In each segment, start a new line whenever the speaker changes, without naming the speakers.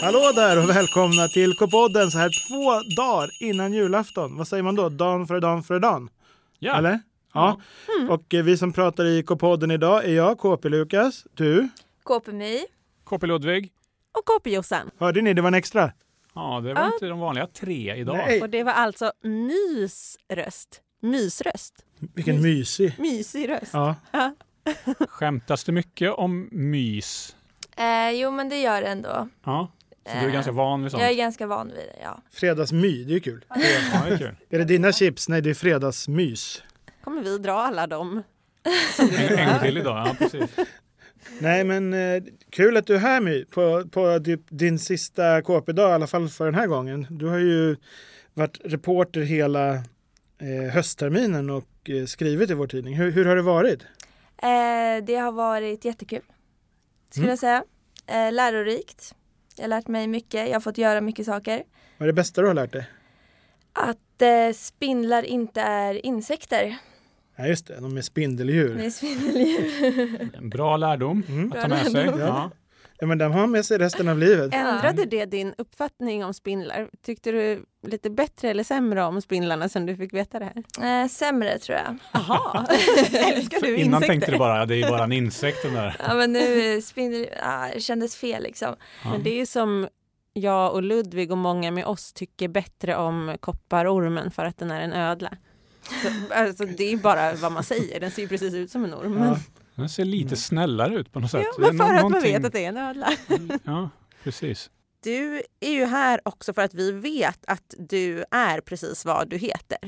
Hallå där och välkomna till K-podden så här två dagar innan julafton. Vad säger man då? Dan före dan före dan?
Ja.
Eller? Ja. Och eh, vi som pratar i K-podden idag är jag, KP-Lukas, du.
KP-My
KP Ludvig.
och KP-Jossan.
Hörde ni? Det var en extra.
Ja, det var
Ja.
inte de vanliga tre idag.
Nej.
Och det var alltså mysröst. Mysröst.
Vilken mysig.
Mysig röst.
Ja.
Skämtas det mycket om mys?
Eh, jo, men det gör det ändå.
Ja, så du är
Eh,
ganska van vid sånt.
Jag är ganska van vid det, ja.
Fredagsmy, det är ju kul.
Ja, det är kul.
Är det dina chips? Nej, det är fredagsmys.
kommer vi dra alla dem.
En, en gång till idag, ja precis.
Nej, men eh, kul att du är här My, på, på di- din sista KP-dag, i alla fall för den här gången. Du har ju varit reporter hela eh, höstterminen och eh, skrivit i vår tidning. Hur, hur har det varit?
Eh, det har varit jättekul, skulle
Mm.
jag säga. Eh, lärorikt. Jag har lärt mig mycket. Jag har fått göra mycket saker.
Vad är det bästa du har lärt dig?
Att eh, spindlar inte är
Mm.
insekter.
Ja, just det, de är
Det
spindeldjur.
Mm.
är spindeldjur.
En bra lärdom
Mm.
att ta med sig. Ja.
Ja, men de har med sig resten av livet.
Ändrade det din uppfattning om spindlar? Tyckte du lite bättre eller sämre om spindlarna sen du fick veta det här?
eh, sämre, tror jag.
Jaha! Älskar du
Innan
insekter?
tänkte du bara, ja, det är bara en insekt den där.
Ja, men nu eh, spindel... Ah, det kändes fel, liksom.
Ja.
Men det är som jag och Ludvig och många med oss tycker bättre om kopparormen för att den är en ödla. Så, alltså, det är bara vad man säger, den ser ju precis ut som en orm. Men,
Ja.
Den ser
Mm.
lite snällare ut på något sätt.
ja,
Det är
men för
nå-
att man
någonting-
vet att det är en ödla.
Ja, precis.
Du är ju här också för att vi vet att du är precis vad du heter.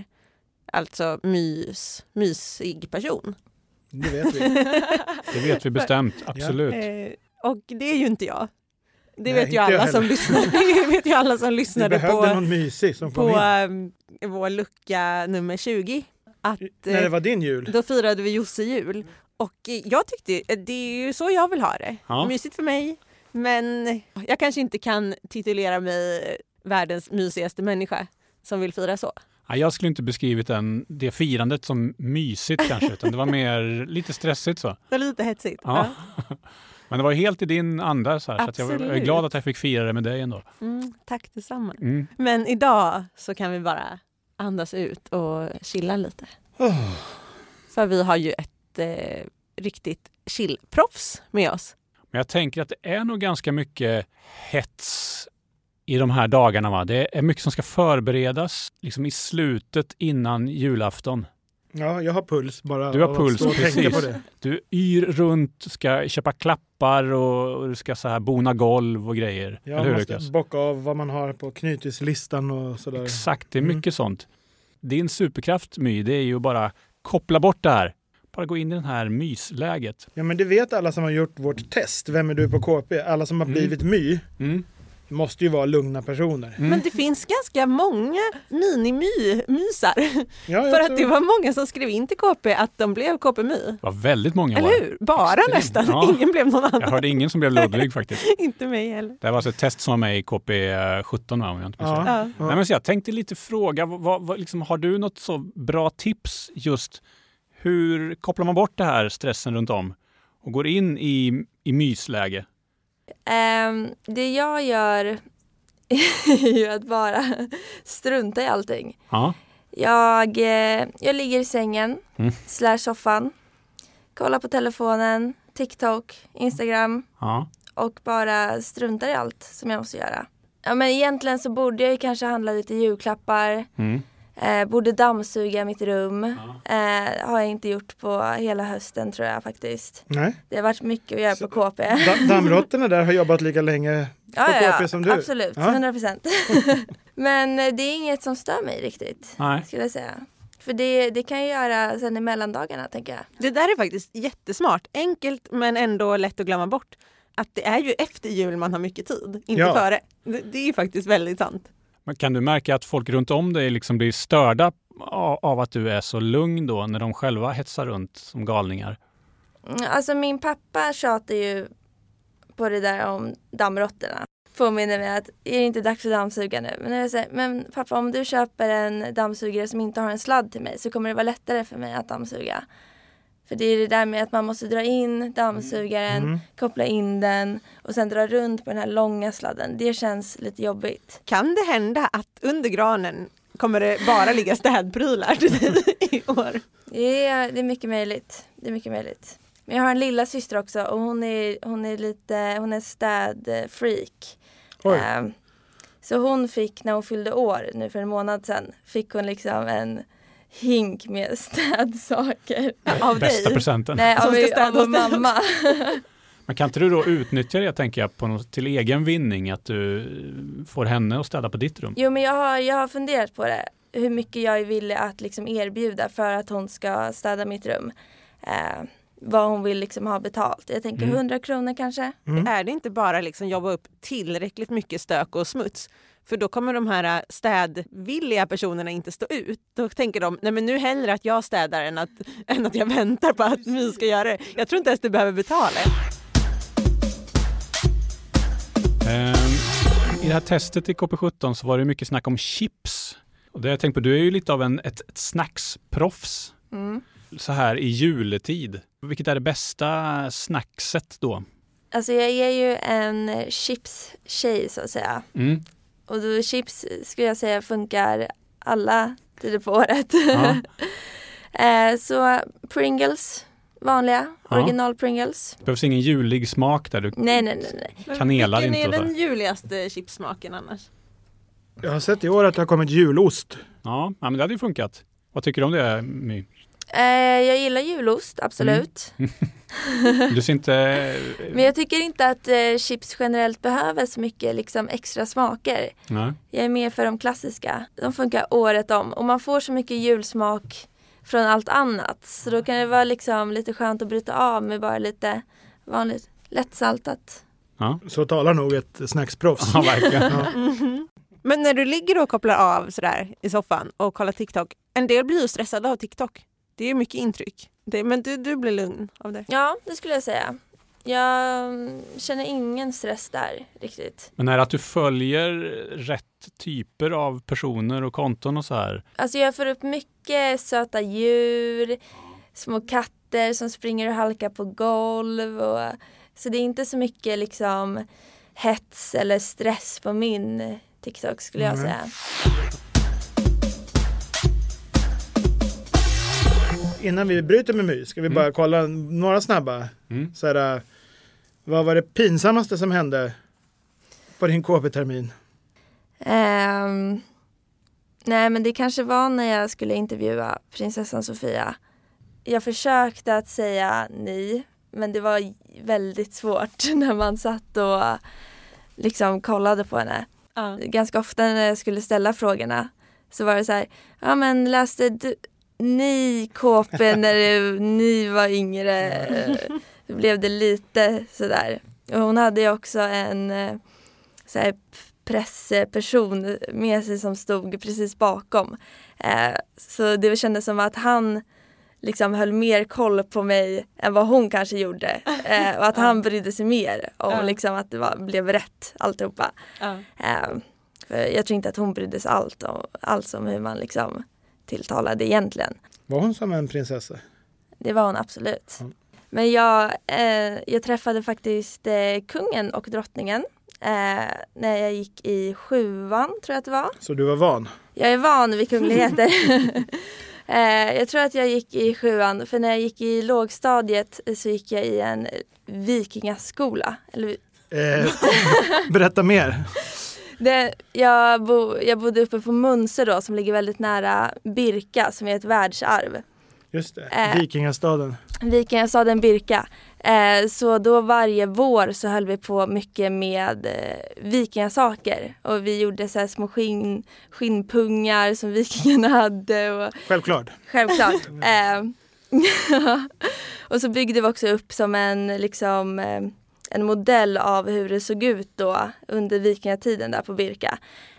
Alltså mys, mysig person.
Det vet vi.
Det vet vi bestämt, absolut.
Eh, och det är ju inte jag. Det
Nej,
vet
inte
ju
jag
alla
heller.
som lyssnade, det vet ju alla som
Vi
lyssnade
behövde
på,
någon mysig som kom
på
in.
eh, vår lucka nummer 20. Att,
När det
eh,
var din jul.
Då firade vi Josse jul. Och eh, jag tyckte, eh, det är ju så jag vill ha det.
Ja.
Mysigt för mig. Men jag kanske inte kan titulera mig världens mysigaste människa som vill fira så.
Ja, jag skulle inte beskrivit den, det firandet som mysigt kanske, utan det var mer lite stressigt så.
Det var lite hetsigt.
Ja. Men det var ju helt i din anda så, här, så att jag är
Absolut.
glad att jag fick fira det med dig ändå.
Mm, tack detsamma.
Mm.
Men idag så kan vi bara andas ut och chilla lite.
Oh,
För vi har ju ett eh, riktigt chillproffs med oss.
Men jag tänker att det är nog ganska mycket hets i de här dagarna. Va? Det är mycket som ska förberedas liksom i slutet innan julafton.
ja, jag har puls bara.
Du har
av att
puls,
stå och tänka
precis.
på det.
Du yr runt, ska köpa klappar och, och du ska så här bona golv och grejer.
Jag
Eller hur
måste
Lukas?
bocka av vad man har på knytislistan och sådär.
Exakt, det är
Mm.
mycket sånt. Din superkraft My, det är ju att bara koppla bort det här. Bara gå in i den här mysläget.
Ja men det vet alla som har gjort vårt test, Vem är du på KP? Alla som har
Mm.
blivit my måste ju vara lugna personer.
Mm.
Men det finns ganska många minimysar.
Ja, jag
För att
tror-
det var många som skrev in till KP att de blev KP-my.
Det var väldigt många
Eller
år.
hur? Bara
Extremt.
nästan.
Ja.
Ingen blev någon
Jag
annan.
hörde ingen som blev Ludvig faktiskt.
Inte mig heller.
Det här var alltså ett test som var med i KP17 va, om jag inte minns fel.
Ja.
Ja.
Nej, men så jag tänkte lite fråga, vad, vad, vad, liksom, har du något så bra tips just hur kopplar man bort det här stressen runt om och går in i, i mysläge?
Ehm, det jag gör är ju att bara strunta i allting.
Ja.
Jag, eh, jag ligger i sängen,
Mm.
slash soffan, kollar på telefonen, TikTok, Instagram
ja.
och bara struntar i allt som jag måste göra. Ja men egentligen så borde jag ju kanske handla lite julklappar,
Mm.
eh, borde dammsuga mitt rum. Eh, har jag inte gjort på hela hösten tror jag faktiskt.
Nej.
Det har varit mycket att göra på KP.
Da- Dammråttorna där har jobbat lika länge. på KP som du.
absolut,
Ja.
100 procent. men eh, det är inget som stör mig riktigt,
Nej.
skulle jag säga. För det, det kan jag göra sen i mellandagarna tänker jag.
Det där är faktiskt jättesmart. Enkelt men ändå lätt att glömma bort. Att det är ju efter jul man har mycket tid, inte
Ja.
före. Det, det är ju faktiskt väldigt sant.
Men kan du märka att folk runt om dig liksom blir störda a- av att du är så lugn då när de själva hetsar runt som galningar?
Mm, Alltså min pappa tjatar ju på det där om dammråttorna. Påminner mig att är det inte dags att dammsuga nu? Men, jag säger, men pappa om du köper en dammsugare som inte har en sladd till mig så kommer det vara lättare för mig att dammsuga. För det är det där med att man måste dra in dammsugaren,
Mm.
koppla in den och sen dra runt på den här långa sladden. Det känns lite jobbigt.
Kan det hända att under granen kommer det bara ligga städprylar till dig i år?
Det är, det är mycket möjligt. Det är mycket möjligt. Men jag har en lilla syster också och hon är, hon är lite, hon är städfreak.
Oj.
Äh.
Ehm, så hon fick när hon fyllde år nu för en månad sedan fick hon liksom en hink med städsaker.
Av
Bästa
dig?
presenten.
Nej,
Som
av,
ska städa
av vår
och städa.
mamma.
Men kan inte du då utnyttja det tänker jag på något, till egen vinning att du får henne att städa på ditt rum?
Jo men jag har, jag har funderat på det. Hur mycket jag är villig att liksom erbjuda för att hon ska städa mitt rum. Eh, vad hon vill liksom ha betalt. Jag tänker
Mm.
100 kronor kanske.
Är det inte bara liksom jobba upp tillräckligt mycket stök och smuts? För då kommer de här äh, städvilliga personerna inte stå ut. Då tänker de, nej men nu hellre att jag städar än att, än att jag väntar på att ni ska göra det. Jag tror inte ens du behöver betala.
Ehm, I det här testet i KP17 så var det mycket snack om chips. Och det har jag tänkt på, du är ju lite av en, ett, ett snacksproffs
Mm.
så här i juletid. Vilket är det bästa snackset då?
Alltså jag är ju en chips-tjej så att säga.
Mm.
Och då chips skulle jag säga funkar alla tider på året.
Ja.
eh, så Pringles, vanliga,
Ja.
original Pringles.
Behövs ingen julig smak där, du
Nej, nej, nej, nej.
kanelar
Vilken
inte
är
och så. här.
den juligaste chipssmaken annars?
Jag har sett i år att det har kommit julost.
Ja, ja, men det hade ju funkat. Vad tycker du om det My?
Eh, jag gillar julost, absolut.
Du ser inte...
Men jag tycker inte att eh, chips generellt behöver så mycket liksom, extra smaker.
Nej.
Jag är mer för de klassiska. De funkar året om och man får så mycket julsmak från allt annat. Så då kan det vara liksom, lite skönt att bryta av med bara lite vanligt lättsaltat.
Så talar nog ett snacksproffs.
Ja, verkligen.
Men när du ligger och kopplar av sådär i soffan och kollar TikTok, en del blir ju stressade av TikTok. Det är ju mycket intryck. Det, men du, du blir lugn av det.
Ja, det skulle jag säga. Jag mm, känner ingen stress där riktigt.
Men är det att du följer rätt typer av personer och konton och så här?
Alltså jag får upp mycket söta djur, små katter som springer och halkar på golv. Och, så det är inte så mycket liksom hets eller stress på min TikTok skulle jag
Nej.
säga.
Innan vi bryter med My ska vi bara kolla några snabba.
Mm.
Så här, äh, vad var det pinsammaste som hände på din KP-termin?
Ehm, nej men det kanske var när jag skulle intervjua prinsessan Sofia. Jag försökte att säga nej men det var väldigt svårt när man satt och liksom kollade på henne.
Ja.
ganska ofta när jag skulle ställa frågorna så var det så här, ja men läste du, ni KP när du, ni var yngre? Då blev det lite sådär. Och hon hade ju också en eh, så här, p- pressperson med sig som stod precis bakom. Eh, Så det kändes som att han liksom höll mer koll på mig än vad hon kanske gjorde. Eh, Och att han brydde sig mer
Ja.
om liksom att det var, blev rätt alltihopa.
Ja.
Eh, för jag tror inte att hon brydde sig allt om, alls om hur man liksom tilltalade egentligen.
Var hon som en prinsessa?
Det var hon absolut.
Mm.
Men jag, eh, jag träffade faktiskt eh, kungen och drottningen eh, när jag gick i sjuan, tror jag att det var.
Så du var van?
Jag är van vid kungligheter. eh, jag tror att jag gick i sjuan, för när jag gick i lågstadiet så gick jag i en vikingaskola. Eller
Eh, berätta mer.
Det, jag, bo, jag bodde uppe på Munse då som ligger väldigt nära Birka som är ett världsarv.
Just det,
Äh.
Eh.
vikingastaden.
Vikingastaden Birka. Eh, så då varje vår så höll vi på mycket med eh, vikingasaker och vi gjorde så här små skinn, skinnpungar som vikingarna hade och
Självklart.
Självklart. eh, och så byggde vi också upp som en, liksom, eh, en modell av hur det såg ut då under vikingatiden där på Birka.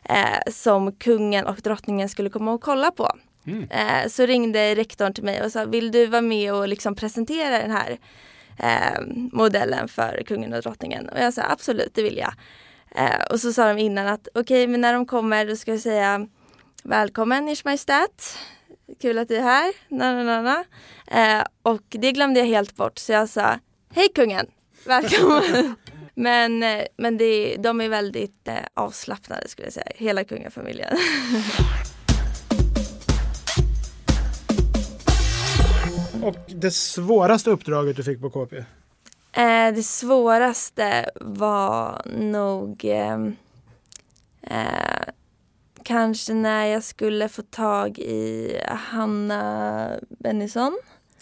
Eh, som kungen och drottningen skulle komma och kolla på.
Mm.
Eh, så ringde rektorn till mig och sa, vill du vara med och liksom presentera den här eh, modellen för kungen och drottningen? Och jag sa, absolut, det vill jag. Eh, och så sa de innan att, okej, men när de kommer då ska jag säga, välkommen Ers Majestät kul att du är här. Na, na, na, na. Eh, och det glömde jag helt bort så jag sa Hej kungen! Välkommen! men eh, men det, de är väldigt eh, avslappnade skulle jag säga, hela kungafamiljen.
Och det svåraste uppdraget du fick på KP?
Eh, det svåraste var nog ehm, eh, kanske när jag skulle få tag i Hanna Bennison,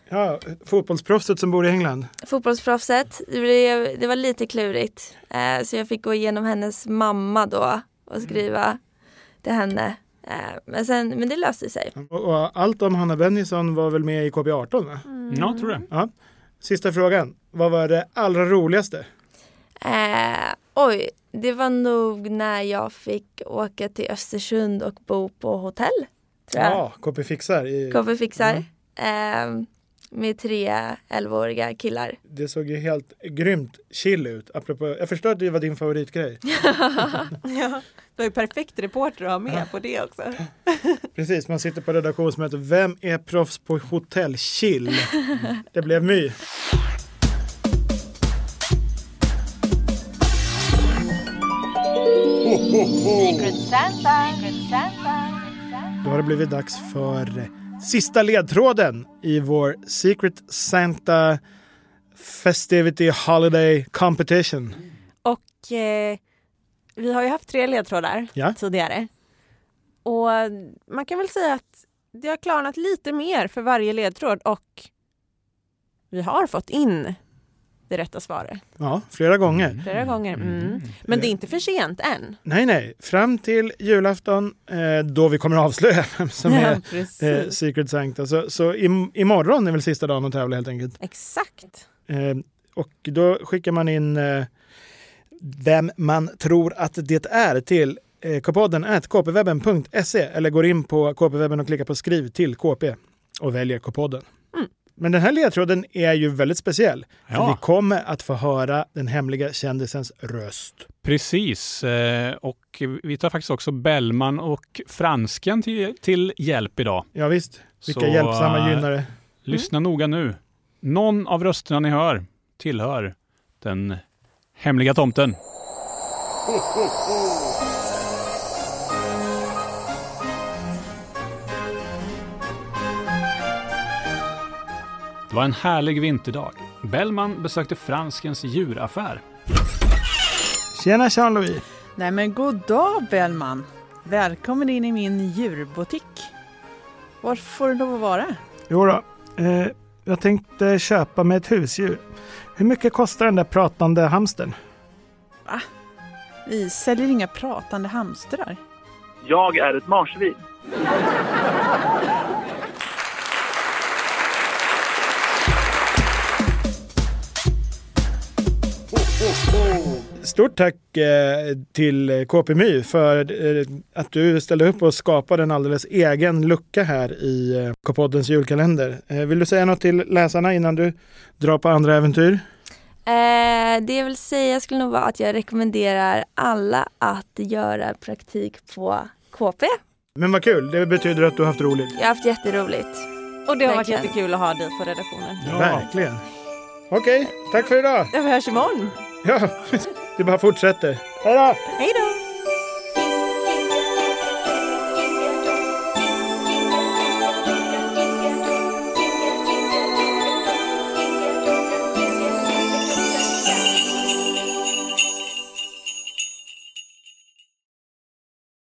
Ja, fotbollsproffset som bor i England.
fotbollsproffset. Det, blev, det var lite klurigt eh, så jag fick gå igenom hennes mamma då och skriva till henne. Eh, men, sen, men det löste sig.
Och, och allt om Hanna Bennison var väl med i KB18? Va?
Mm.
Ja, tror det.
Sista frågan. Vad var det allra roligaste?
Eh, oj, det var nog när jag fick åka till Östersund och bo på hotell. Tror jag.
Ja, KP fixar. I,
Koffe fixar. Ehm, med tre 11-åriga killar.
det såg ju helt grymt chill ut. Apropå, jag förstår att det var din favoritgrej.
Ja, du är ju perfekt reporter att ha med på det också.
Precis, man sitter på redaktionsmöte. Vem är proffs på hotellchill? Det blev My. Då har det blivit dags för sista ledtråden i vår Secret Santa Festivity Holiday Competition.
Och eh, vi har ju haft tre ledtrådar
Ja.
tidigare. Och man kan väl säga att det har klarnat lite mer för varje ledtråd och vi har fått in det rätta svaret
Ja, flera gånger.
flera gånger. Mm. Men
Eh,
det är inte för sent än.
Nej, nej. Fram till julafton eh, då vi kommer avslöja vem som är eh,
precis.
Secret Sancta. Så, så im- imorgon är väl sista dagen att tävla helt enkelt.
Exakt.
Eh, och då skickar man in eh, vem man tror att det är till eh, kpodden kpwebben.se eller går in på kpwebben och klickar på skriv till kp och väljer kpodden. Men den här ledtråden är ju väldigt speciell. För
Ja.
Vi kommer att få höra den hemliga kändisens röst.
Precis. Eh, Och vi tar faktiskt också Bellman och Fransken till, till hjälp idag.
Ja, visst. Vilka
Så,
hjälpsamma
eh,
gynnare.
Lyssna noga nu. Någon av rösterna ni hör tillhör den hemliga tomten. Det var en härlig vinterdag. Bellman besökte Franskens djuraffär.
Tjena Jean-Louis!
Nej men god dag Bellman! Välkommen in i min djurbutik. Var får du lov att vara?
Jo då, eh, jag tänkte köpa mig ett husdjur. Hur mycket kostar den där pratande hamstern?
Vi säljer inga pratande hamstrar.
Jag är ett marsvin.
Stort tack eh, till KP My för eh, att du ställde upp och skapade en alldeles egen lucka här i eh, K-poddens julkalender. Eh, vill du säga något till läsarna innan du drar på andra äventyr?
Eh, det jag vill säga skulle nog vara att jag rekommenderar alla att göra praktik på KP.
Men vad kul, det betyder att du har haft roligt.
Jag har haft jätteroligt.
Och det har varit
Verkligen.
jättekul att ha dig på redaktionen.
Verkligen. Okej, tack för idag.
Vi hörs imorgon.
Ja, det bara fortsätter. Hej då!
Hej då!